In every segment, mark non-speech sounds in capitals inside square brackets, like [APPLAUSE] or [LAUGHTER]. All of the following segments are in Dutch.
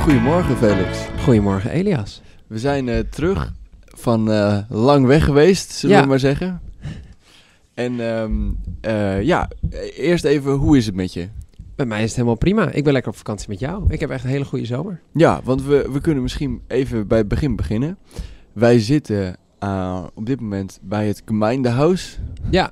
Goedemorgen Felix. Goedemorgen Elias. We zijn eh, terug van eh, lang weg geweest, zullen Ja. we maar zeggen. En ehm, eh, ja, eh, eerst even, hoe is het met je? Bij mij is het helemaal prima. Ik ben lekker op vakantie met jou. Ik heb echt een hele goede zomer. Ja, want we, we kunnen misschien even bij het begin beginnen. Wij zitten eh, op dit moment bij het gemeentehuis Ja,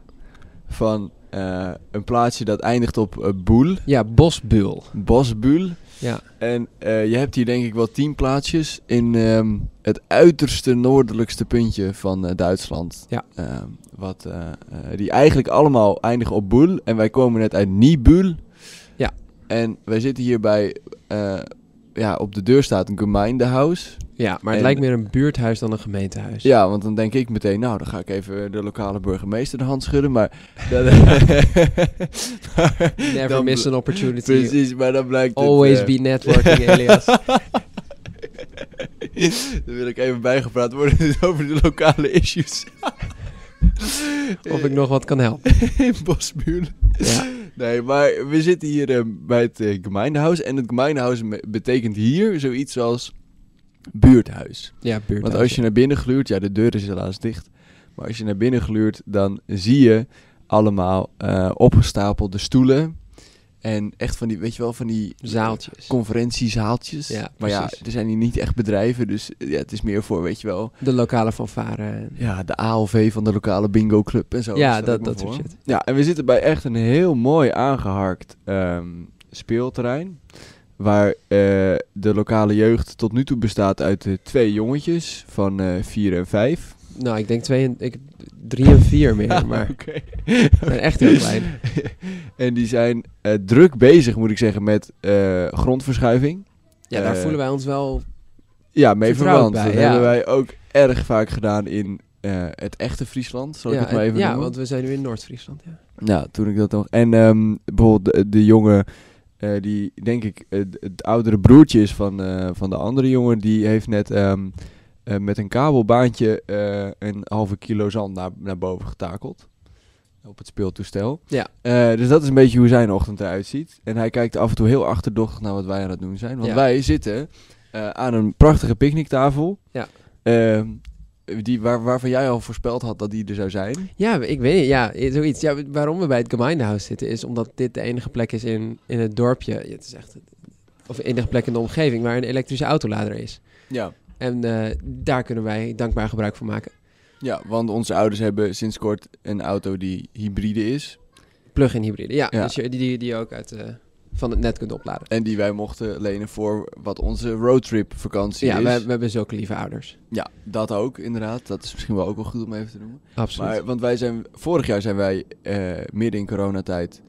van eh, een plaatsje dat eindigt op eh, Boel, ja bosbul. Bosbuul. Ja. En eh, je hebt hier denk ik wel tien plaatsjes in ehm, het uiterste noordelijkste puntje van eh, Duitsland. Ja. Ehm, wat, eh, eh, die eigenlijk allemaal eindigen op Boel. En wij komen net uit Niebul. Ja. En wij zitten hier bij, eh, ja, op de deur staat een gemeentehuis. Ja, maar het En- lijkt meer een buurthuis dan een gemeentehuis. Ja, want dan denk ik meteen, nou, dan ga ik even de lokale burgemeester de hand schudden. [LAUGHS] Maar, dat, [LAUGHS] maar Never dan- miss an opportunity. Precies, maar dan blijkt het, Always eh, be networking, [LAUGHS] Elias. Dan wil ik even bijgepraat worden [LAUGHS] over de lokale issues. [LAUGHS] Of ik nog wat kan helpen. [LAUGHS] in Bosburen. Ja. Nee, maar we zitten hier eh, bij het eh, gemeentehuis. En het gemeentehuis me- betekent hier zoiets als buurthuis. Ja, buurthuis. Want als je naar binnen gluurt, ja, de deur is helaas dicht. Maar als je naar binnen gluurt, dan zie je allemaal eh, opgestapelde stoelen. En echt van die, weet je wel, van die Zaaltjes. conferentiezaaltjes. Ja, maar ja, precies. er zijn hier niet echt bedrijven, dus eh, ja, het is meer voor, weet je wel, De lokale fanfare. ja, de ALV van de lokale bingo club en zo. Ja, stel ik dat- me dat voor. soort shit. Ja, en we zitten bij echt een heel mooi aangeharkt ehm, speelterrein. Waar eh, de lokale jeugd tot nu toe bestaat uit eh, twee jongetjes van eh, vier en vijf. Nou, ik denk twee en, ik, drie en vier meer, maar Oké. [LAUGHS] ze zijn [LAUGHS] echt heel klein. en die zijn eh, druk bezig, moet ik zeggen, met eh, grondverschuiving. Ja, daar Eh, voelen wij ons wel... Ja, mee Vertrouwd verwant. bij, dat ja. hebben wij ook erg vaak gedaan in eh, het echte Friesland, zal ik ja, het maar even ja, noemen. want we zijn nu in Noord-Friesland. Ja. Ja, toen ik dat nog. En ehm, bijvoorbeeld de, de jongen, eh, die denk ik eh, d- het oudere broertje is van, eh, van de andere jongen, die heeft net ehm, eh, met een kabelbaantje eh, een halve kilo zand naar, naar boven getakeld. Op het speeltoestel. Ja. Eh, dus dat is een beetje hoe zijn ochtend eruit ziet. En hij kijkt af en toe heel achterdochtig naar wat wij aan het doen zijn. Want Ja. wij zitten eh, aan een prachtige picknicktafel. Ja. Ehm, die, waar, waarvan jij al voorspeld had dat die er zou zijn. Ja, ik weet niet. Ja, eh, zoiets. Ja, waarom we bij het gemeentehuis zitten is omdat dit de enige plek is in, in het dorpje. Ja, Het is echt... Of de enige plek in de omgeving waar een elektrische autolader is. Ja. En eh, daar kunnen wij dankbaar gebruik van maken. Ja, want onze ouders hebben sinds kort een auto die hybride is. Plug-in hybride. Ja, Ja. Dus je, die, die, die je ook uit, eh, van het net kunt opladen. En die wij mochten lenen voor wat onze roadtrip vakantie Ja, is. we, we hebben zulke lieve ouders. Ja, dat ook inderdaad. Dat is misschien wel ook wel goed om even te noemen. Absoluut. Maar, want wij zijn, vorig jaar zijn wij eh, midden in coronatijd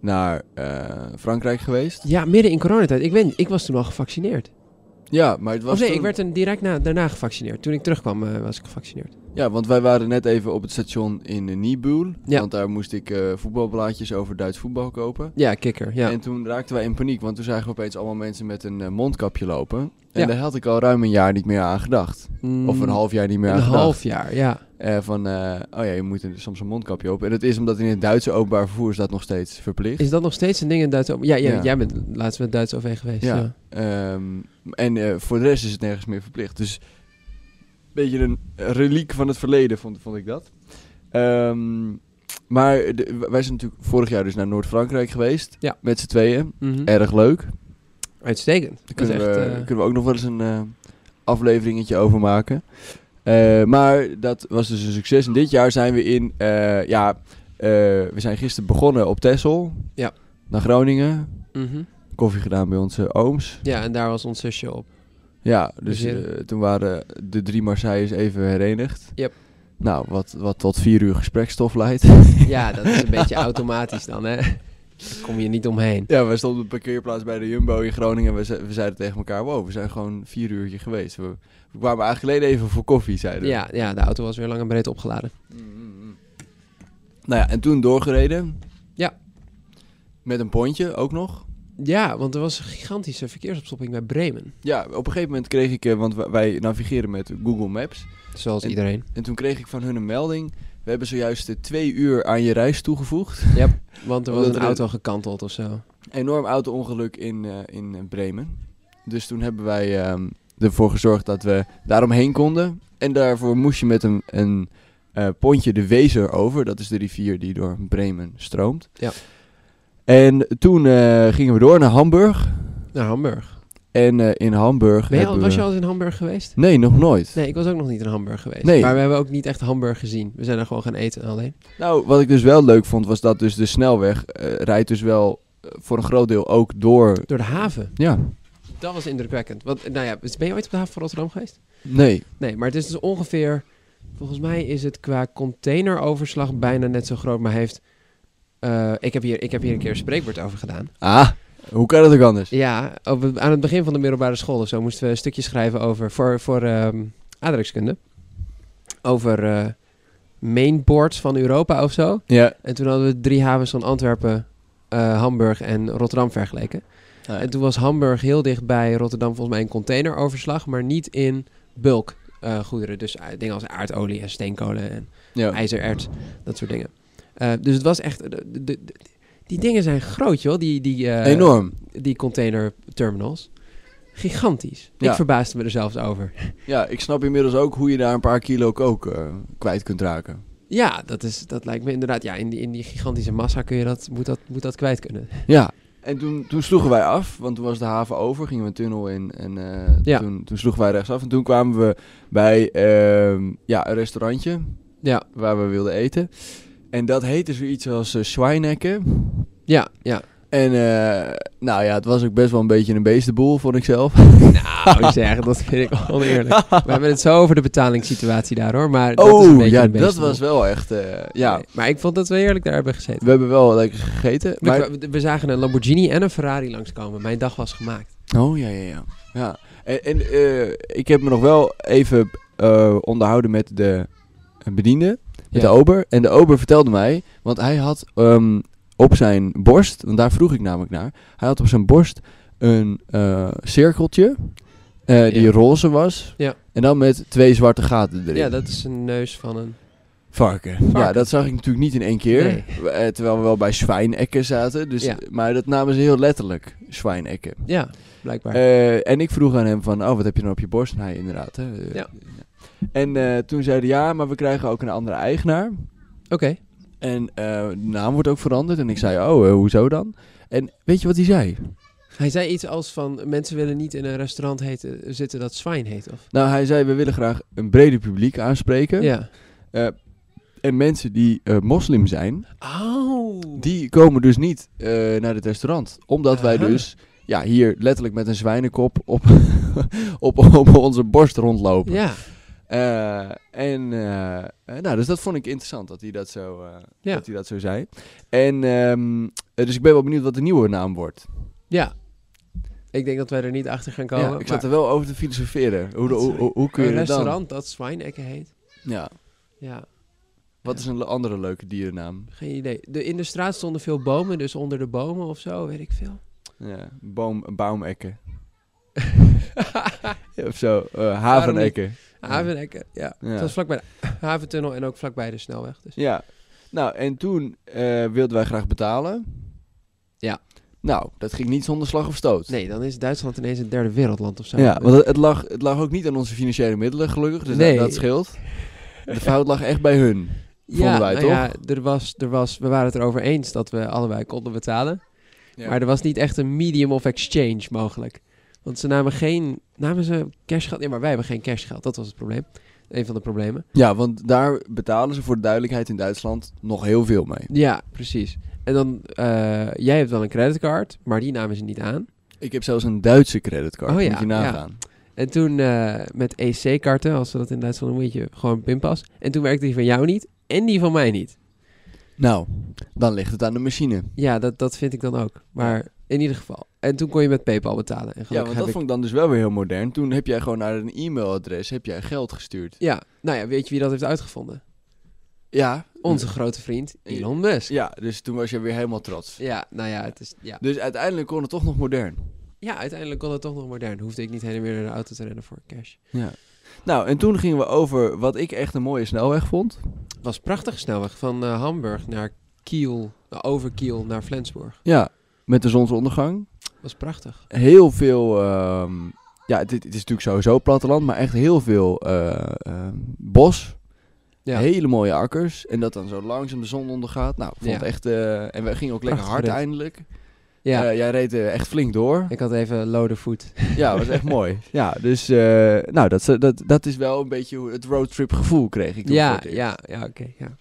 naar eh, Frankrijk geweest. Ja, midden in coronatijd. Ik weet niet, ik was toen al gevaccineerd. Ja, maar het was of nee, toen- ik werd een, direct na, daarna gevaccineerd. Toen ik terugkwam eh, was ik gevaccineerd. Ja, want wij waren net even op het station in eh, Niebul. Ja. Want daar moest ik eh, voetbalblaadjes over Duits voetbal kopen. Ja, kikker. Ja. En toen raakten wij in paniek, want toen zagen we opeens allemaal mensen met een eh, mondkapje lopen. En Ja. daar had ik al ruim een jaar niet meer aan gedacht. Mm, Of een half jaar niet meer aan Een gedacht. half jaar, ja. Eh, van, eh, oh ja, je moet er soms een mondkapje op. En dat is omdat in het Duitse openbaar vervoer is dat nog steeds verplicht. Is dat nog steeds een ding in Duits OV? Ja, jij, Ja. jij bent laatst met Duits OV geweest. Ja. Ja. Ehm, en eh, voor de rest is het nergens meer verplicht. Dus een beetje een reliek van het verleden vond, vond ik dat. Ehm, maar de- wij zijn natuurlijk vorig jaar dus naar Noord-Frankrijk geweest. Ja. Met z'n tweeën. Mhm. Erg leuk. Daar Uitstekend. Dat is kunnen, echt, we, eh, kunnen we ook nog wel eens een eh, afleveringetje over maken. Eh, maar dat was dus een succes. En dit jaar zijn we in... eh, ja, eh, we zijn gisteren begonnen op Texel. Ja. Naar Groningen. mhm. Koffie gedaan bij onze ooms. Ja, en daar was ons zusje op. Ja, dus Dus je- eh, toen waren de drie Marseilles even herenigd. Yep. Nou, wat, wat tot vier uur gesprekstof [LAUGHS] leidt. Ja, dat [LAUGHS] is een beetje automatisch dan, hè? Daar kom je niet omheen. Ja, we stonden op de parkeerplaats bij de Jumbo in Groningen. En we, ze- we zeiden tegen elkaar, wow, we zijn gewoon vier uur hier geweest. We, we kwamen eigenlijk alleen even voor koffie, zeiden we. Ja, ja, de auto was weer lang en breed opgeladen. Mm, mm, mm. Nou ja, en toen doorgereden. Ja. Met een pontje ook nog. Ja, want er was een gigantische verkeersopstopping bij Bremen. Ja, op een gegeven moment kreeg ik, eh, want wij- wij navigeren met Google Maps. Zoals En- [LAUGHS] iedereen. En toen kreeg ik van hun een melding. We hebben zojuist eh, twee uur aan je reis toegevoegd. [LAUGHS] Ja, want er was Omdat een er- auto gekanteld of zo. Enorm auto-ongeluk in, eh, in eh, Bremen. Dus toen hebben wij ehm, ervoor gezorgd dat we daaromheen konden. En daarvoor moest je met een, een eh, pontje de Wezer over. Dat is de rivier die door Bremen stroomt. Ja. En toen eh, gingen we door naar Hamburg. Naar Hamburg. En eh, in Hamburg. Ben je al- hebben was we- je al eens in Hamburg geweest? Nee, nog nooit. Nee, ik was ook nog niet in Hamburg geweest. Nee. Maar we hebben ook niet echt Hamburg gezien. We zijn er gewoon gaan eten alleen. Nou, wat ik dus wel leuk vond, was dat dus de snelweg eh, rijdt dus wel eh, voor een groot deel ook door. Door de haven. Ja, Dat was indrukwekkend. Want, nou ja, ben je ooit op de haven van Rotterdam geweest? nee. Nee, maar het is dus ongeveer... Volgens mij is het qua containeroverslag bijna net zo groot. Maar heeft... eh, ik, heb hier, ik heb hier een keer een spreekwoord over gedaan. Ah, hoe kan dat ook anders? Ja, op het- aan het begin van de middelbare school of zo moesten we een stukje schrijven over, voor, voor ehm aardrijkskunde. Over eh, mainboards van Europa of zo. Ja. En toen hadden we drie havens van Antwerpen, eh, Hamburg en Rotterdam vergeleken. En Eh, toen was Hamburg heel dicht bij Rotterdam volgens mij een containeroverslag, maar niet in bulk eh, goederen. Dus eh, dingen als aardolie en steenkolen en ja. ijzererts, dat soort dingen. Eh, dus het was echt... de- de- de- die dingen zijn groot, joh. Die, die, eh, Enorm. die containerterminals. Gigantisch. Ja. Ik verbaasde me er zelfs over. Ja, ik snap inmiddels ook hoe je daar een paar kilo ook kwijt kunt raken. Ja, dat, is, dat lijkt me inderdaad. Ja, in die, in die gigantische massa kun je dat, moet, dat, moet dat kwijt kunnen. Ja. En toen, toen sloegen wij af, want toen was de haven over, gingen we een tunnel in en eh, Ja. toen, toen sloegen wij rechtsaf. En toen kwamen we bij ehm, ja, een restaurantje Ja, waar we wilden eten. En dat heette zoiets als uh, ja, ja. En eh, nou ja, het was ook best wel een beetje een beestenboel, vond ik zelf. Nou, zeg, dat vind ik [LAUGHS] oneerlijk. We hebben het zo over de betalingssituatie daar hoor. Maar [LAUGHS] dat is een oh beetje ja, een dat beestenboel. was wel echt, eh, ja. Nee, Maar ik vond dat we heerlijk daar hebben gezeten. We hebben wel lekker gegeten. Maar We, we zagen een Lamborghini en een Ferrari langskomen. Mijn dag was gemaakt. Oh ja, ja, ja. ja. En, en eh, ik heb me nog wel even eh, onderhouden met de eh, bediende, met de Ja. ober. En de ober vertelde mij, want hij had ehm, op zijn borst, want daar vroeg ik namelijk naar, hij had op zijn borst een eh, cirkeltje eh, die Ja. roze was. Ja. En dan met twee zwarte gaten erin. Ja, dat is een neus van een... Varken. Ja, Varken. dat zag ik natuurlijk niet in één keer. Nee. W- eh, terwijl we wel bij zwijnekken zaten. Dus, Ja. Maar dat namen ze heel letterlijk, zwijnekken. Ja, blijkbaar. Eh, en ik vroeg aan hem van, oh, wat heb je dan op je borst? En hij inderdaad. Hè, eh, Ja. En eh, toen zei hij, ja, maar we krijgen ook een andere eigenaar. Oké. En eh, de naam wordt ook veranderd. En ik zei, oh, eh, hoezo dan? En weet je wat hij zei? Hij zei iets als van mensen willen niet in een restaurant heten, zitten dat zwijn heet of. Nou, hij zei, we willen graag een breder publiek aanspreken. Ja. En mensen die eh, moslim zijn, Oh. die komen dus niet eh, naar het restaurant. Omdat wij Aha. dus ja, hier letterlijk met een zwijnenkop op, [LAUGHS] op, op onze borst rondlopen. Ja. Eh, en eh, eh, nou, dus dat vond ik interessant dat hij dat zo, eh, Ja. dat hij dat zo zei. En ehm, eh, dus ik ben wel benieuwd wat de nieuwe naam wordt. Ja. Ik denk dat wij er niet achter gaan komen. ja, ik zat maar er wel over te filosoferen. Hoe, Wat, hoe, hoe, hoe kun je een dat dan? restaurant dat Zwijnekke heet. Ja. Ja, Wat Ja. is een le- andere leuke dierennaam? geen idee. De, in de straat stonden veel bomen, dus onder de bomen of zo, weet ik veel. Ja, boom, baumekken. [LAUGHS] Ja, of zo, eh, havenekken. Havenekken, ja. Ja. Het was vlakbij de haventunnel en ook vlakbij de snelweg. Dus. Ja. Nou, en toen eh, wilden wij graag betalen. Ja. Nou, dat ging niet zonder slag of stoot. Nee, dan is Duitsland ineens een derde wereldland of zo. Ja, want het- het lag, het lag ook niet aan onze financiële middelen, gelukkig. Dus Nee. dat, dat scheelt. De fout lag echt bij hun. vonden wij, nou ja, er was, er was, we waren het erover eens dat we allebei konden betalen. Ja. Maar er was niet echt een medium of exchange mogelijk. Want ze namen geen... Namen ze cashgeld? Nee, maar wij hebben geen cashgeld. Dat was het probleem. Een van de problemen. Ja, want daar betalen ze voor de duidelijkheid in Duitsland nog heel veel mee. Ja, precies. En dan... eh, jij hebt wel een creditcard, maar die namen ze niet aan. Ik heb zelfs een Duitse creditcard, Oh ja, moet je nagaan. En toen eh, met EC-karten, als ze dat in Duitsland noemen, weet je gewoon pinpas. En toen werkte die van jou niet en die van mij niet. Nou, dan ligt het aan de machine. Ja, dat, dat vind ik dan ook. Maar in ieder geval. En toen kon je met Paypal betalen. En Ja, gelukkig want heb dat ik vond ik dan dus wel weer heel modern. Toen heb jij gewoon naar een e-mailadres heb jij geld gestuurd. Ja, nou ja, weet je wie dat heeft uitgevonden? Ja. Onze grote vriend Elon Musk. Ja, dus toen was je weer helemaal trots. Ja, nou ja, het is, ja. Dus uiteindelijk kon het toch nog modern. ja, uiteindelijk kon het toch nog modern. Hoefde ik niet heen en weer naar de auto te rennen voor cash. Ja. Nou, en toen gingen we over wat ik echt een mooie snelweg vond. was prachtig snelweg van eh, Hamburg naar eh, Kiel, nou, over Kiel naar Flensburg. Ja, met de zonsondergang. was prachtig. heel veel. ehm, ja, het, het is natuurlijk sowieso platteland, maar echt heel veel eh, ehm, bos. Ja. Hele mooie akkers. En dat dan zo langzaam de zon ondergaat. Nou, ik vond Ja. het echt. eh, en we gingen ook lekker Prachtig hard gedaan. eindelijk. Ja, Eh, jij reed eh, echt flink [LAUGHS] door. ik had even lode voet. Ja, dat was echt mooi. Ja, dus eh, nou, dat, is- dat, dat is wel een beetje hoe het roadtrip gevoel kreeg ik. toen voor Ja, het eerst. ja, ja, oké. ja.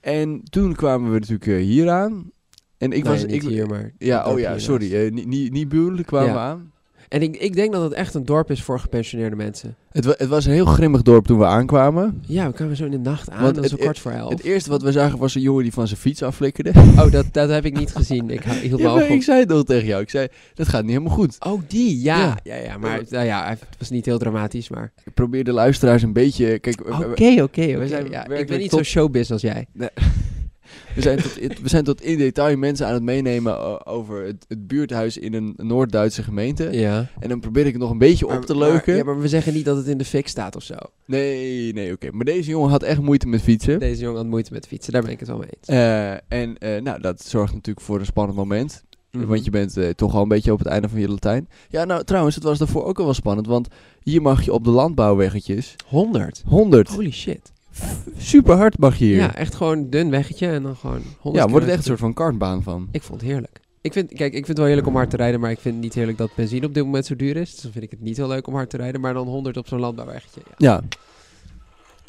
En toen kwamen we natuurlijk eh, hier aan. En ik Nee, was... niet ik, hier, maar... het Ja, dorp oh ja, hiernaast. sorry. eh, niet niet niet Buurle kwamen Ja. we aan. En ik, ik denk dat het echt een dorp is voor gepensioneerde mensen. Het, wa- het was een heel grimmig dorp toen we aankwamen. Ja, we kwamen zo in de nacht aan, Want dat is zo het- kwart voor elf. Het eerste wat we zagen was een jongen die van zijn fiets aflikkerde. [LAUGHS] oh, dat, dat heb ik niet gezien. Ik hou- ik [LAUGHS] hield Ja, mijn maar ogen ik op. zei het al tegen jou. Ik zei, dat gaat niet helemaal goed. Oh, die, ja. Ja. Ja, ja, maar nou ja, het was niet heel dramatisch, maar... Ik probeer de luisteraars een beetje... Kijk, eh, we- Oké, we, oké, we oké. zijn Ja, Ik ben werkelijk niet tot- zo showbiz als jij. we, zijn tot, in- we zijn tot in detail mensen aan het meenemen eh, over het, het buurthuis in een Noord-Duitse gemeente. Ja. En dan probeer ik het nog een beetje op te leuken. Maar, ja, maar we zeggen niet dat het in de fik staat of zo. Nee, nee, oké. Maar deze jongen had echt moeite met fietsen. Deze jongen had moeite met fietsen, daar ben ik het wel mee eens. Eh, en eh, nou, dat zorgt natuurlijk voor een spannend moment. Mhm. Want je bent eh, toch al een beetje op het einde van je Latijn. Ja, nou trouwens, het was daarvoor ook al wel spannend. Want hier mag je op de landbouwweggetjes 100. 100. Holy shit. Super hard mag je hier. Ja, echt gewoon een dun weggetje en dan gewoon 100 Ja, wordt kilometer. het echt een soort van kartbaan van. Ik vond het heerlijk. Ik vind, kijk, ik vind het wel heerlijk om hard te rijden, maar ik vind het niet heerlijk dat benzine op dit moment zo duur is. Dus dan vind ik het niet heel leuk om hard te rijden, maar dan 100 op zo'n landbouwweggetje. Ja, Ja,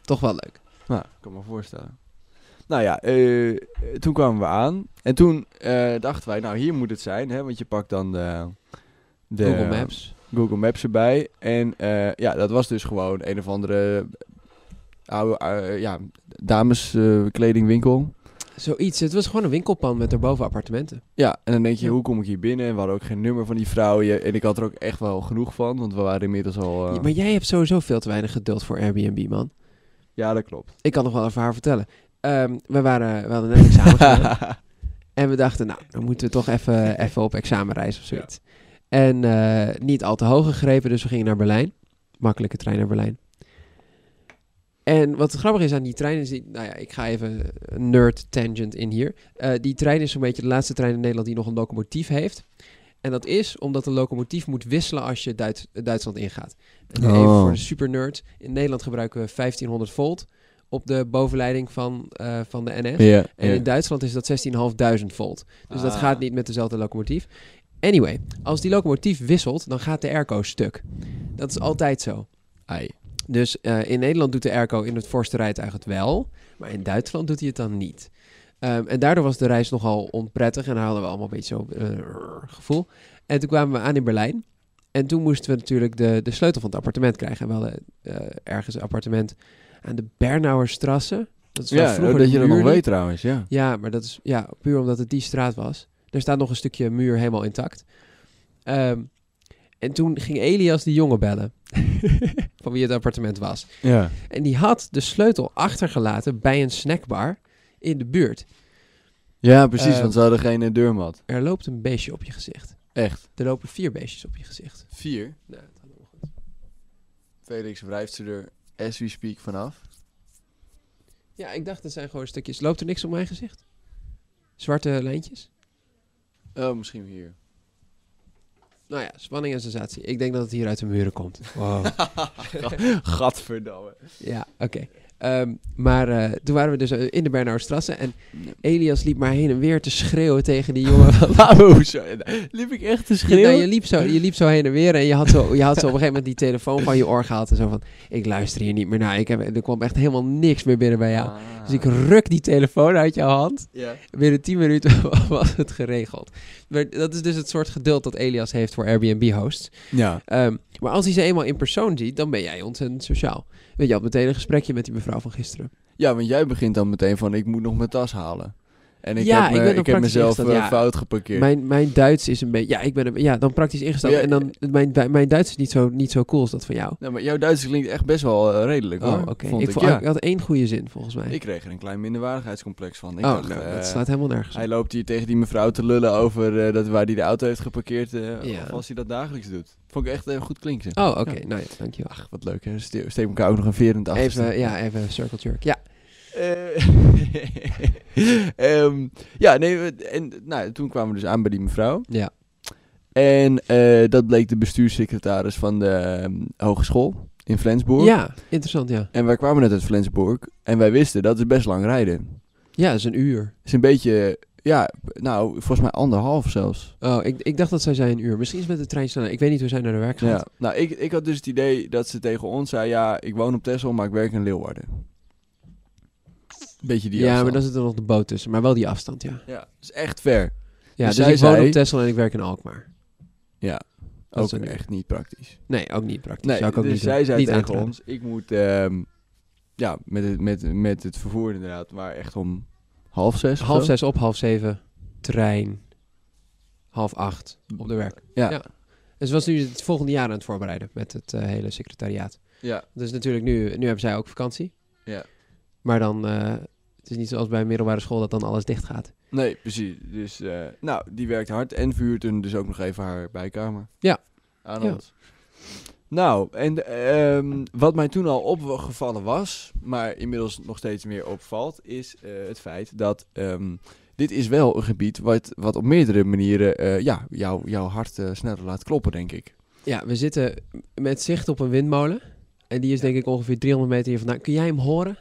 toch wel leuk. nou, ik kan me voorstellen. Nou ja, eh, toen kwamen we aan. En toen eh, dachten wij, nou hier moet het zijn. Hè, want je pakt dan de, de Google Maps. Google Maps erbij. En eh, ja, dat was dus gewoon een of andere oude eh, ja, eh, dameskledingwinkel. Zoiets. Het was gewoon een winkelpan met daarboven appartementen. ja, en dan denk je, Ja. hoe kom ik hier binnen? En we hadden ook geen nummer van die vrouw. Je- En ik had er ook echt wel genoeg van, want we waren inmiddels al... eh, Ja, maar jij hebt sowieso veel te weinig geduld voor Airbnb, man. Ja, dat klopt. Ik kan nog wel even haar vertellen. Ehm, we, waren, we hadden net examen gedaan. En we dachten, nou, dan moeten we toch even, even op examenreis of zoiets. En eh, niet al te hoog gegrepen, dus we gingen naar Berlijn. Makkelijke trein naar Berlijn. En wat grappig is aan die trein is, die, nou ja, ik ga even een nerd tangent in hier. Eh, die trein is zo'n beetje de laatste trein in Nederland die nog een locomotief heeft. En dat is omdat een locomotief moet wisselen als je Duits, Duitsland ingaat. En Even Oh. voor de super nerd. In Nederland gebruiken we 1500 volt op de bovenleiding van, eh, van de NS. ja, En ja. in Duitsland is dat 16.500 volt. Dus dat Ah. gaat niet met dezelfde locomotief. Anyway, als die locomotief wisselt, dan gaat de airco stuk. Dat is altijd zo. Ai. Dus eh, in Nederland doet de airco in het voorste rijtuig het wel. Maar in Duitsland doet hij het dan niet. Ehm, en daardoor was de reis nogal onprettig. En daar hadden we allemaal een beetje zo'n eh, gevoel. En toen kwamen we aan in Berlijn. En toen moesten we natuurlijk de, de sleutel van het appartement krijgen. En we hadden eh, ergens een appartement aan de Bernauerstrasse. Dat is waar Ja, vroeger dat je de dat nog muur liep. weet trouwens, ja. Ja, maar dat is ja, puur omdat het die straat was. Er staat nog een stukje muur helemaal intact. Ehm, en toen ging Elias die jongen bellen. [LAUGHS] van wie het appartement was. Ja. En die had de sleutel achtergelaten bij een snackbar in de buurt. Ja, precies, Eh, want ze hadden geen eh, deurmat. Er loopt een beestje op je gezicht. Echt. Er lopen vier beestjes op je gezicht. Vier. Nou, dat hadden we goed. Felix wrijft ze er as we speak vanaf. Ja, ik dacht, het zijn gewoon stukjes. Loopt er niks op mijn gezicht? Zwarte lijntjes? Oh, misschien hier. Nou ja, spanning en sensatie. Ik denk dat het hier uit de muren komt. Wow. [LAUGHS] Gadverdamme. Ja, oké. Ehm, maar eh, toen waren we dus eh, in de Bernauerstrasse en Elias liep maar heen en weer te schreeuwen tegen die [LAUGHS] jongen. [LAUGHS] Nou, Wauw, zo. Liep ik echt te Je, nou, schreeuwen? je, liep zo, je liep zo heen en weer en je had, zo, je had zo op een gegeven moment die telefoon van je oor gehaald en zo van, ik luister hier niet meer naar. Ik heb, er kwam echt helemaal niks meer binnen bij jou. Ah. Dus ik ruk die telefoon uit jouw hand. Ja. Binnen 10 minuten [LAUGHS] was het geregeld. Maar dat is dus het soort geduld dat Elias heeft voor Airbnb-hosts. Ja. Ehm, maar als hij ze eenmaal in persoon ziet, dan ben jij ontzettend sociaal. Weet je, had meteen een gesprekje met die mevrouw van gisteren. ja, want jij begint dan meteen van ik moet nog mijn tas halen. En ik Ja, heb, me- ik ben ik nog heb praktisch mezelf ingesteld, eh, ja. fout geparkeerd. Mijn, mijn Duits is een beetje. Ja, ik ben een- ja, dan praktisch ingesteld. Ja, en dan, mijn, mijn Duits is niet zo, niet zo cool als dat van jou. Nou, maar jouw Duits klinkt echt best wel eh, redelijk Oh, hoor. oké. Vond Ik, ik, vo- ja. ik had één goede zin volgens mij. ik kreeg er een klein minderwaardigheidscomplex van. Ik oh, dacht, nou, eh, dat slaat helemaal nergens op. hij loopt hier tegen die mevrouw te lullen over eh, dat waar hij de auto heeft geparkeerd. eh, Ja. Of als hij dat dagelijks doet. Vond ik echt eh, goed klinken. Oh, oké. Ja. Nou ja, dankjewel. Ach, wat leuk hè. Ste- Steek elkaar ook nog een verend achter. [LAUGHS] Even, ja, even circle jerk. Ja, Eh, Ehm, ja, nee, we- en nou, toen kwamen we dus aan bij die mevrouw. ja. En eh, dat bleek de bestuurssecretaris van de ehm, hogeschool in Flensburg. Ja, interessant, ja. En wij kwamen net uit Flensburg. En wij wisten, dat is best lang rijden. Ja, dat is een uur. is een beetje, ja, nou, volgens mij anderhalf zelfs. Oh, ik, ik dacht dat zij zei een uur. Misschien is het met de trein sneller. Ik weet niet hoe zij naar de werk gaat. Ja. Nou, ik, ik had dus het idee dat ze tegen ons zei, ja, ik woon op Texel, maar ik werk in Leeuwarden. Beetje die Ja, afstand. maar dan zit er nog de boot tussen. Maar wel die afstand, ja. Ja, is echt ver. Ja, Dus dus, zij ik woon zei- op Texel en ik werk in Alkmaar. Ja, Dat ook is ook echt niet praktisch. Nee, ook niet praktisch. Nee, Zou ik ook dus niet zij zei niet tegen aanraden. ons, ik moet ehm, ja, met, het, met, met het vervoer inderdaad, maar echt om half zes. of Half zo. zes op, half zeven, trein, half acht op de werk. Ja. ja. En ze was nu het volgende jaar aan het voorbereiden met het eh, hele secretariaat. Ja, Dus natuurlijk, nu, nu hebben zij ook vakantie. Ja. Maar dan, eh, het is niet zoals bij een middelbare school dat dan alles dicht gaat. nee, precies. Dus, eh, nou, die werkt hard en verhuurt hun dus ook nog even haar bijkamer. Ja. Aan Ja. ons. Nou, en ehm, wat mij toen al opgevallen was, maar inmiddels nog steeds meer opvalt, is eh, het feit dat ehm, dit is wel een gebied wat, wat op meerdere manieren eh, ja, jou, jouw hart eh, sneller laat kloppen, denk ik. Ja, we zitten met zicht op een windmolen. En die is denk ik ongeveer 300 meter hier vandaan. Kun jij hem horen?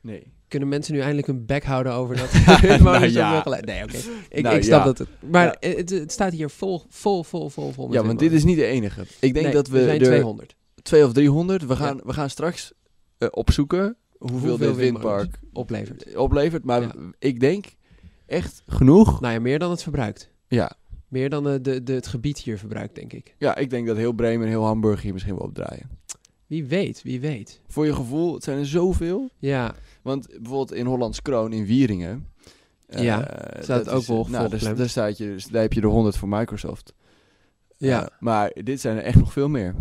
Nee. Kunnen mensen nu eindelijk hun bek houden over [LAUGHS] dat Nou windmolen zo ja. veel geluid- Nee, oké. Ik, Nou ik snap ja. dat het... Maar het, het staat hier vol, vol, vol, vol, vol met Ja, want dit windmolens. is niet de enige. Ik denk Nee, dat we, er zijn er 200. twee of 300. We gaan, we gaan straks eh, opzoeken hoeveel, Hoeveel dit windmolens windpark eh, oplevert. oplevert. Maar Ja. ik denk echt genoeg. Nou ja, meer dan het verbruikt. Ja. Meer dan eh, de, de, het gebied hier verbruikt, denk ik. ja, ik denk dat heel Bremen en heel Hamburg hier misschien wel opdraaien. Wie weet, wie weet. Voor je gevoel, het zijn er zoveel. Ja, Want bijvoorbeeld in Hollands Kroon in Wieringen. eh, Ja, dat staat ook is- wel nou, daar, volgeklemd. daar, staat je, dus daar heb je de 100 voor Microsoft. ja. Eh, maar dit zijn er echt nog veel meer.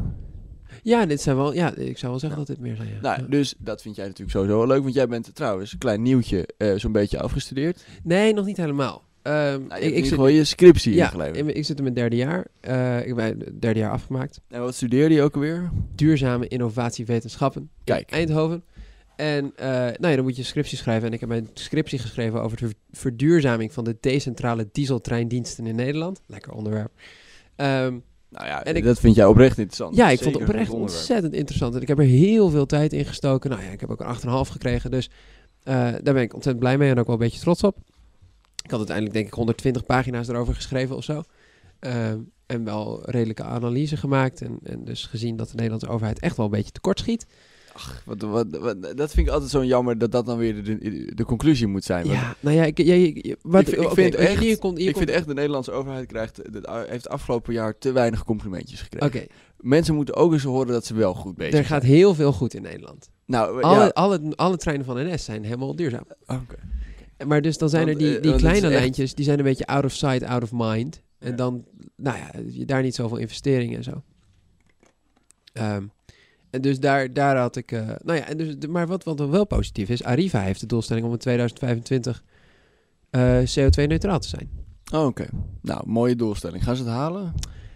ja, dit zijn wel, ja, ik zou wel zeggen dat dit meer zijn. Ja. Nou, Ja. dus dat vind jij natuurlijk sowieso wel leuk. Want jij bent trouwens, klein nieuwtje, eh, zo'n beetje afgestudeerd. Nee, nog niet helemaal. Ehm, Nou, je ik, hebt ik, in zit, ieder geval je scriptie ja, ingeleverd. in mijn- ik zit in mijn derde jaar. Eh, ik ben het derde jaar afgemaakt. En wat studeerde je ook alweer? Duurzame innovatie wetenschappen. Kijk. Eindhoven. En eh, nou ja, dan moet je een scriptie schrijven. En ik heb mijn scriptie geschreven over de ver- verduurzaming van de decentrale dieseltreindiensten in Nederland. Lekker onderwerp. Ehm, Nou ja, En ik- dat vind jij oprecht interessant. Ja, ik vond Zeker het oprecht een goed onderwerp. ontzettend interessant. En ik heb er heel veel tijd in gestoken. Nou ja, ik heb ook een 8,5 gekregen. Dus eh, daar ben ik ontzettend blij mee en ook wel een beetje trots op. Ik had uiteindelijk denk ik 120 pagina's erover geschreven of zo. Ehm, en wel redelijke analyse gemaakt. En, en dus gezien dat de Nederlandse overheid echt wel een beetje tekort schiet. Wat, wat, wat- dat vind ik altijd zo jammer dat dat dan weer de, de conclusie moet zijn. Want Ja, nou ja, ik, jij- ik- je- wat, Ik vind- ik oké, vind want echt- hier komt, hier ik komt- vind echt de Nederlandse overheid krijgt, eh, dat, heeft afgelopen jaar te weinig complimentjes gekregen. Oké, Mensen moeten ook eens horen dat ze wel goed bezig er zijn. gaat heel veel goed in Nederland. Nou, ja. Alle, alle, alle treinen van NS zijn helemaal duurzaam. Oké. Maar dus dan zijn Want, er eh, die, die want het kleine is echt- lijntjes, die zijn een beetje out of sight, out of mind. En Ja. dan, nou ja, je- daar niet zoveel investeringen en zo. Ehm, en dus daar, daar had ik, eh, nou ja, en dus, de- maar wat, wat dan wel positief is, Arriva heeft de doelstelling om in 2025 eh, CO2-neutraal te zijn. Oh, Oké. Nou, mooie doelstelling. Gaan ze het halen?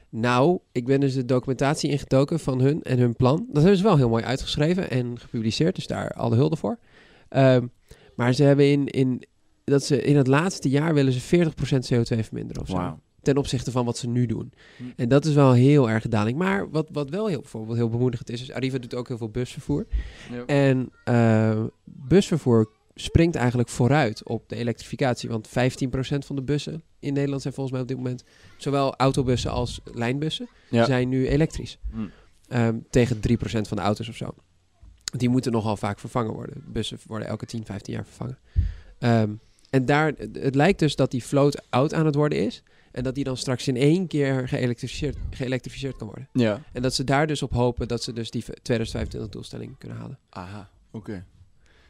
Nou, ik ben dus de documentatie ingetoken van hun en hun plan. Dat hebben ze wel heel mooi uitgeschreven en gepubliceerd, dus daar alle hulde voor. Ehm, maar ze hebben in, in, dat ze in het laatste jaar willen ze 40% CO2 verminderen of zo. Ten opzichte van wat ze nu doen. Hm. En dat is wel heel erg daling. Maar wat, wat wel heel, bijvoorbeeld heel bemoedigend is, is Arriva doet ook heel veel busvervoer. Ja. En eh, busvervoer springt eigenlijk vooruit op de elektrificatie. Want 15% van de bussen in Nederland zijn volgens mij op dit moment... zowel autobussen als lijnbussen Ja. zijn nu elektrisch. Hm. Ehm, tegen 3% van de auto's of zo. Die moeten nogal vaak vervangen worden. Bussen worden elke 10, 15 jaar vervangen. Ehm, en daar, het lijkt dus dat die float oud aan het worden is. En dat die dan straks in één keer geëlektrificeerd, geëlektrificeerd kan worden. Ja. En dat ze daar dus op hopen dat ze dus die 2025 doelstelling kunnen halen. Aha. Oké.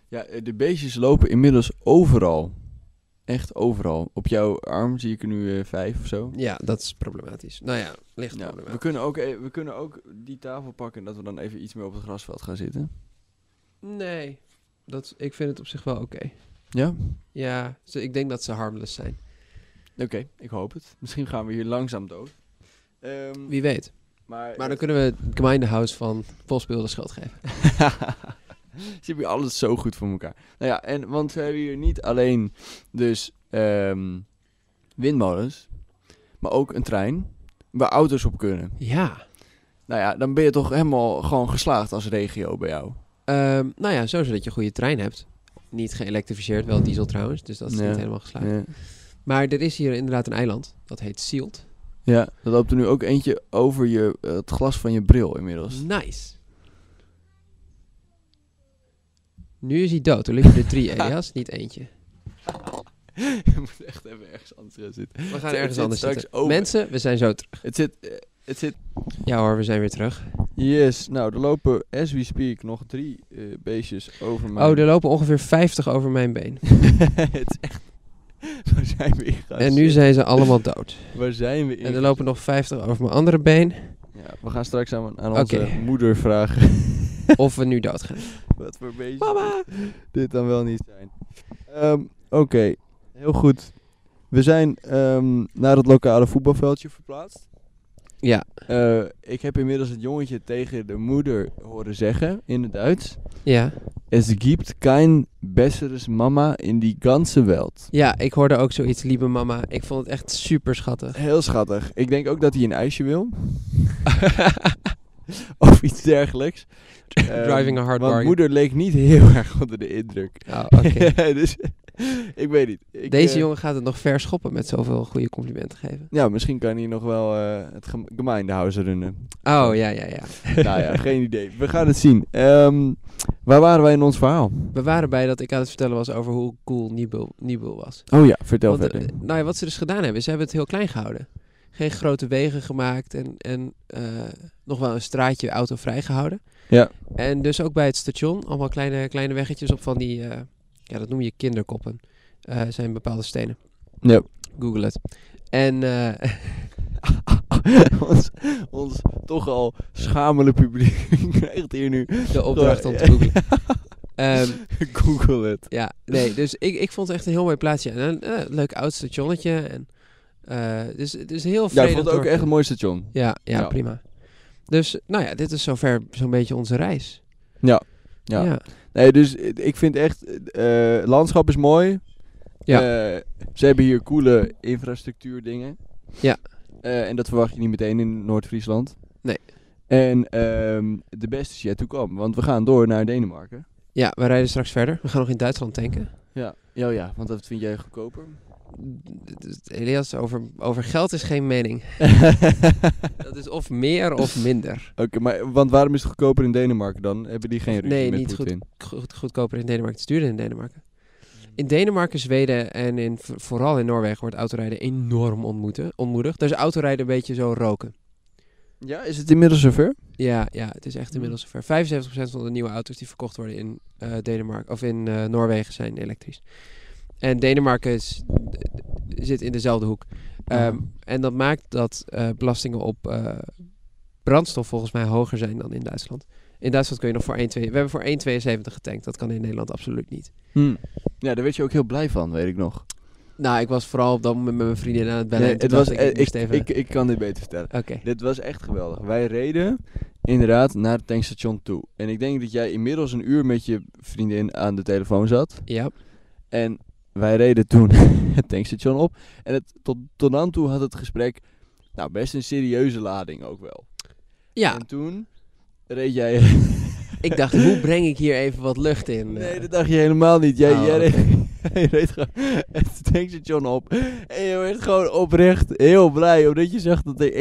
Ja, eh, de beestjes lopen inmiddels overal. Echt overal. Op jouw arm zie ik er nu eh, vijf of zo. Ja, dat is problematisch. Nou ja, licht Ja, we problematisch. kunnen, ook, e- we kunnen ook die tafel pakken en dat we dan even iets meer op het grasveld gaan zitten. Nee, dat, ik vind het op zich wel oké. Ja? Ja, ze, ik denk dat ze harmless zijn. Oké, ik hoop het. Misschien gaan we hier langzaam dood. Ehm, Wie weet. maar eh, Maar dan kunnen we het gemeendehuis van Postbeeld de schuld geven. [LAUGHS] Ze hebben hier alles zo goed voor elkaar. Nou ja, en, want we hebben hier niet alleen dus ehm, windmolens, maar ook een trein, waar auto's op kunnen. Ja. Nou ja, dan ben je toch helemaal gewoon geslaagd als regio bij jou. Ehm, nou ja, sowieso dat je een goede trein hebt. Niet geëlektrificeerd, wel diesel trouwens. Dus dat is Ja. niet helemaal geslaagd. Ja. Maar er is hier inderdaad een eiland. Dat heet Sealed. ja, er loopt er nu ook eentje over je, eh, het glas van je bril inmiddels. Nice. Nu is hij dood. Er liggen er [LAUGHS] drie, Elias. Niet eentje. je moet echt even ergens anders gaan zitten. We gaan zit ergens anders straks zitten. over. Mensen, we zijn zo terug. Het zit, eh, het zit... Ja hoor, we zijn weer terug. Yes, nou, er lopen, as we speak, nog drie eh, beestjes over mij. Oh, er lopen ongeveer 50 over mijn been. [LAUGHS] het is echt... Waar zijn we in gaan En nu zitten? zijn ze allemaal [LAUGHS] dood. Waar zijn we in En er lopen nog 50 over mijn andere been. Ja, we gaan straks aan, aan Oké. onze moeder vragen Of we nu doodgaan. [LAUGHS] wat voor beestjes dit- dit dan wel niet zijn. Ehm, Oké, heel goed. We zijn ehm, naar het lokale voetbalveldje verplaatst. Ja. Eh, ik heb inmiddels het jongetje tegen de moeder horen zeggen in het Duits. Ja. Es gibt kein besseres Mama in die ganze Welt. Ja, ik hoorde ook zoiets, lieve mama. Ik vond het echt super schattig. Heel schattig. Ik denk ook dat hij een ijsje [LAUGHS] wil. of iets dergelijks. Driving a hard Mijn bargain. moeder leek niet heel erg onder de indruk. [LAUGHS] Oh, oké. [LAUGHS] dus ik weet niet. Ik, Deze eh, jongen gaat het nog ver schoppen met zoveel goede complimenten geven. Ja, misschien kan hij nog wel eh, het gem- gemeendehuis runnen. [LAUGHS] Oh, ja, ja, ja. nou ja, geen idee. We gaan het zien. Ehm, waar waren wij in ons verhaal? We waren bij dat ik aan het vertellen was over hoe cool Nibul, Nibul was. Oh ja, vertel Want, verder. eh, nou ja, wat ze dus gedaan hebben, ze hebben het heel klein gehouden. Geen grote wegen gemaakt en, en eh, nog wel een straatje autovrij gehouden. Ja. En dus ook bij het station, allemaal kleine, kleine weggetjes op van die, eh, ja, dat noem je kinderkoppen. Eh, zijn bepaalde stenen. Ja. [LAUGHS] Google het. En eh, ons, ons toch al schamele publiek [LAUGHS] krijgt hier nu. de opdracht om te Ja. [LAUGHS] googlen. Ehm, Google het. Ja, nee, dus ik, ik vond het echt een heel mooi plaatsje. En een eh, leuk oud stationnetje. En, eh, dus het is heel Ja, vredig. ik vond het ook dorp. echt een mooi station. Ja, ja, Ja. prima. Dus, nou ja, dit is zover zo'n beetje onze reis. Ja. Ja. ja. Nee, dus eh, ik vind echt, eh, eh, landschap is mooi. Ja. Eh, ze hebben hier coole infrastructuur dingen. Ja. Eh, en dat verwacht je niet meteen in Noord-Friesland. Nee. En ehm, de beste is yet to come, want we gaan door naar Denemarken. Ja, we rijden straks verder. We gaan nog in Duitsland tanken. Ja, ja, oh ja want dat vind jij goedkoper. Elias, over, over geld is [LAUGHS] geen mening. Dat is of meer of minder. Oké, maar want waarom is het goedkoper in Denemarken dan? Hebben die geen ruzie Nee, met niet goed. Poetin? Goed, goedkoper in Denemarken te sturen in Denemarken. In Denemarken, Zweden en in, vooral in Noorwegen wordt autorijden enorm ontmoeten, ontmoedigd. Daar is autorijden een beetje zo roken. Ja, is het inmiddels zover? Ja, ja, het is echt inmiddels zover. 75% van de nieuwe auto's die verkocht worden in eh, Denemarken of in eh, Noorwegen zijn elektrisch. En Denemarken is, zit in dezelfde hoek. Ehm, Mhm. En dat maakt dat eh, belastingen op eh, brandstof volgens mij hoger zijn dan in Duitsland. In Duitsland kun je nog voor 1,2. We hebben voor 1,72 getankt. Dat kan in Nederland absoluut niet. Hm. Ja, daar werd je ook heel blij van, weet ik nog. Nou, ik was vooral op dat moment met mijn vriendin aan het bellen. Nee, en toen het was, dacht eh, ik, ik, ik, moest ik, even- ik, kan dit beter vertellen. Oké. Dit was echt geweldig. Wij reden inderdaad naar het tankstation toe. En ik denk dat jij inmiddels een uur met je vriendin aan de telefoon zat. Ja. En wij reden toen [LAUGHS] het tankstation op. En het, tot, tot dan toe had het gesprek nou, best een serieuze lading ook wel. Ja, En toen reed jij... [LAUGHS] ik dacht, hoe breng ik hier even wat lucht in? Nee, Eh, dat dacht je helemaal niet. Jij, Oh, jij reed, [LAUGHS] jij reed gewoon het tankstation op. En je werd gewoon oprecht heel blij. Omdat je zag dat er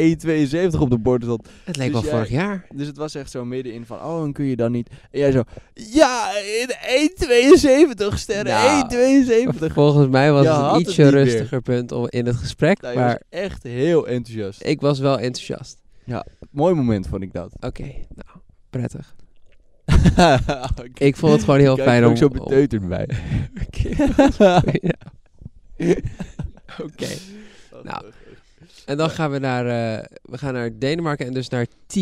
1,72 op de bord zat. het leek dus wel jij- vorig jaar. Dus het was echt zo middenin van, oh, dan kun je dan niet. En jij zo, ja, in 1,72 sterren, Nou, 1,72. [LAUGHS] Volgens mij was Je het had een het ietsje niet meer. rustiger punt om, in het gesprek, Nou, je maar was echt heel enthousiast. ik was wel enthousiast. Mooi moment vond ik dat. [LAUGHS] Oké, nou, prettig. [LAUGHS] ik Ik vond het gewoon heel kijk fijn er om... Oh. ook zo om- beteuterd bij. [LAUGHS] Ja. Oké. Nou, En dan gaan we naar, eh, we gaan naar Denemarken en dus naar T.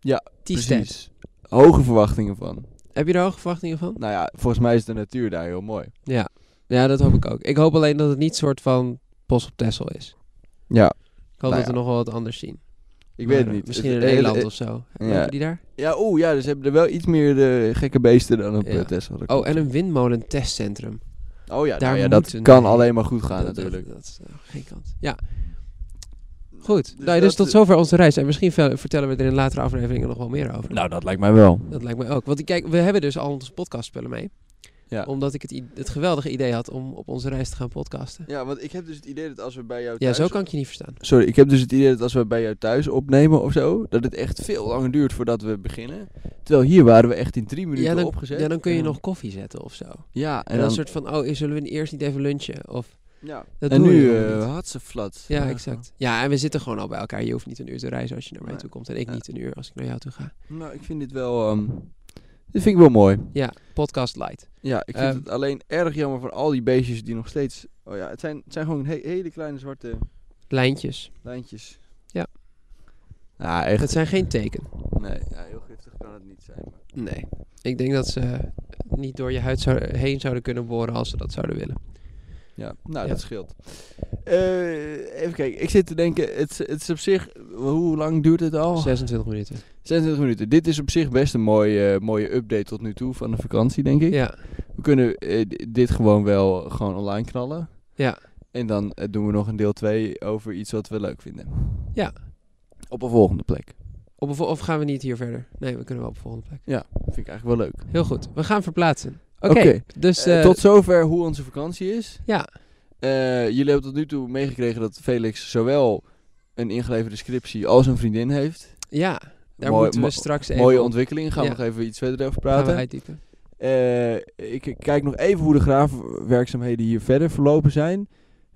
Ja, T-stad. Nou, Precies. Hoge verwachtingen van. Heb je er hoge verwachtingen van? Nou ja, volgens mij is de natuur daar heel mooi. Ja. Ja, dat hoop ik ook. Ik hoop alleen dat het niet soort van bos op Texel is. Ja, Ik hoop Nou dat ja. we nog wel wat anders zien. ik weet het Maar, eh, niet. Misschien Het- in het- Nederland het- of zo. ja. Hebben die daar? Ja, oeh, ja, dus hebben er wel iets meer eh, gekke beesten dan op Ja. eh, Texel. Dat Oh, klopt. en een windmolentestcentrum. oh ja, nou daar ja moet dat een- kan alleen maar goed gaan Dat- dat- natuurlijk. Dat, is eh, geen kant. Ja, Goed. Dus nou, dus dat- tot zover onze reis. En misschien ver- vertellen we er in latere afleveringen nog wel meer over. Nou, dat lijkt mij wel. Dat lijkt mij ook. Want kijk, we hebben dus al onze podcastspullen mee. Ja. Omdat ik het, i- het geweldige idee had om op onze reis te gaan podcasten. Ja, want ik heb dus het idee dat als we bij jou Ja, zo kan ik je niet verstaan. Sorry, ik heb dus het idee dat als we bij jou thuis opnemen of zo, dat het echt veel langer duurt voordat we beginnen. Terwijl hier waren we echt in drie minuten Ja dan, opgezet. ja, dan kun je En- nog koffie zetten of zo. En, Ja, en, dan een dan... soort van, oh, zullen we eerst niet even lunchen? Of, Ja. dat en doen we nu helemaal niet. eh had ze flat. Ja, exact. Ja, en we zitten gewoon al bij elkaar. Je hoeft niet een uur te reizen als je naar mij Nee. toe komt. En ik Ja. niet een uur als ik naar jou toe ga. Nou, ik vind dit wel... ehm, dit vind ik wel mooi. Ja, podcast light. Ja, ik vind Ehm. het alleen erg jammer voor al die beestjes die nog steeds... Oh ja, het zijn, het zijn gewoon he- hele kleine zwarte Lijntjes. lijntjes. Ja. Ja, echt. Het zijn geen teken. Nee, ja, heel giftig kan het niet zijn. maar- Nee. Ik denk dat ze eh, niet door je huid zou, heen zouden kunnen boren als ze dat zouden willen. Ja, nou, Ja. dat scheelt. Eh, even kijken, ik zit te denken, het, is- het is op zich... Hoe lang duurt het al? 26 minuten. 26 minuten. Dit is op zich best een mooie, eh, mooie update tot nu toe van de vakantie, denk ik. Ja. We kunnen eh, d- dit gewoon wel gewoon online knallen. Ja. En dan eh, doen we nog een deel 2 over iets wat we leuk vinden. Ja. Op een volgende plek. Op, een vo- of gaan we niet hier verder? Nee, we kunnen wel op de volgende plek. Vind ik eigenlijk wel leuk. Heel goed. We gaan verplaatsen. Oké. Oké. Dus Eh, eh, tot zover hoe onze vakantie is. Ja. Eh, jullie hebben tot nu toe meegekregen dat Felix zowel een ingeleverde scriptie als een vriendin heeft. ja, daar Mooi- moeten we mo- straks even Mooie op- ontwikkeling. Gaan we Ja. nog even iets verder over gaan we praten. [LAUGHS] uitdiepen. Eh, ik kijk nog even hoe de graafwerkzaamheden hier verder verlopen zijn.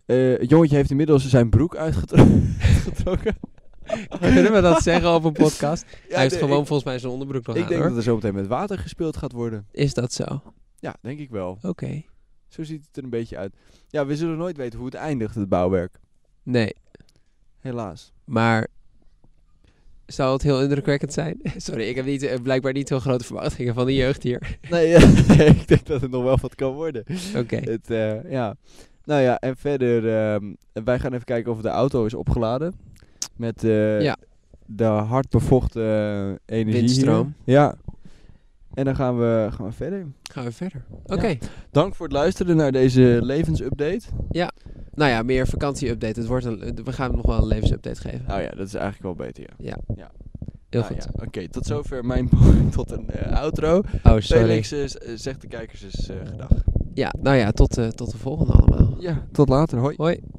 Eh, het jongetje heeft inmiddels zijn broek uitgetro- [LAUGHS] uitgetrokken. [LAUGHS] Kunnen we dat zeggen op een podcast? [LAUGHS] Ja, Hij heeft nee, gewoon Ik, volgens mij zijn onderbroek nog ik aan, denk hoor. dat er zo meteen met water gespeeld gaat worden. Is dat zo? Oké. Ja, denk ik wel. Zo ziet het er een beetje uit. Ja, we zullen nooit weten hoe het eindigt, het bouwwerk. Nee. Helaas. Maar zou het heel indrukwekkend zijn? [LAUGHS] Sorry, ik heb niet, eh, blijkbaar niet heel grote verwachtingen van de jeugd [LAUGHS] hier. Nee, [LAUGHS] ja, ik denk dat het nog wel wat kan worden. Oké. Het, eh, ja. Nou ja, en verder, ehm, wij gaan even kijken of de auto is opgeladen. Met eh, Ja. de hard bevochten eh, energie. Windstroom. hier. Ja. En dan gaan we, gaan we verder. Gaan we verder. Oké. Dank voor het luisteren naar deze levensupdate. Nou ja, meer vakantieupdate. Het wordt een, eh, we gaan hem nog wel een levensupdate geven. Nou ja, dat is eigenlijk wel beter, ja. Heel Nou goed. ja, Oké, tot zover mijn [LAUGHS] poging tot een eh, outro. Oh, sorry. Felix eh, z- eh, zegt de kijkers eens eh, gedag. Ja, nou ja, tot, eh, tot de volgende allemaal. Ja, tot later. Hoi. Hoi.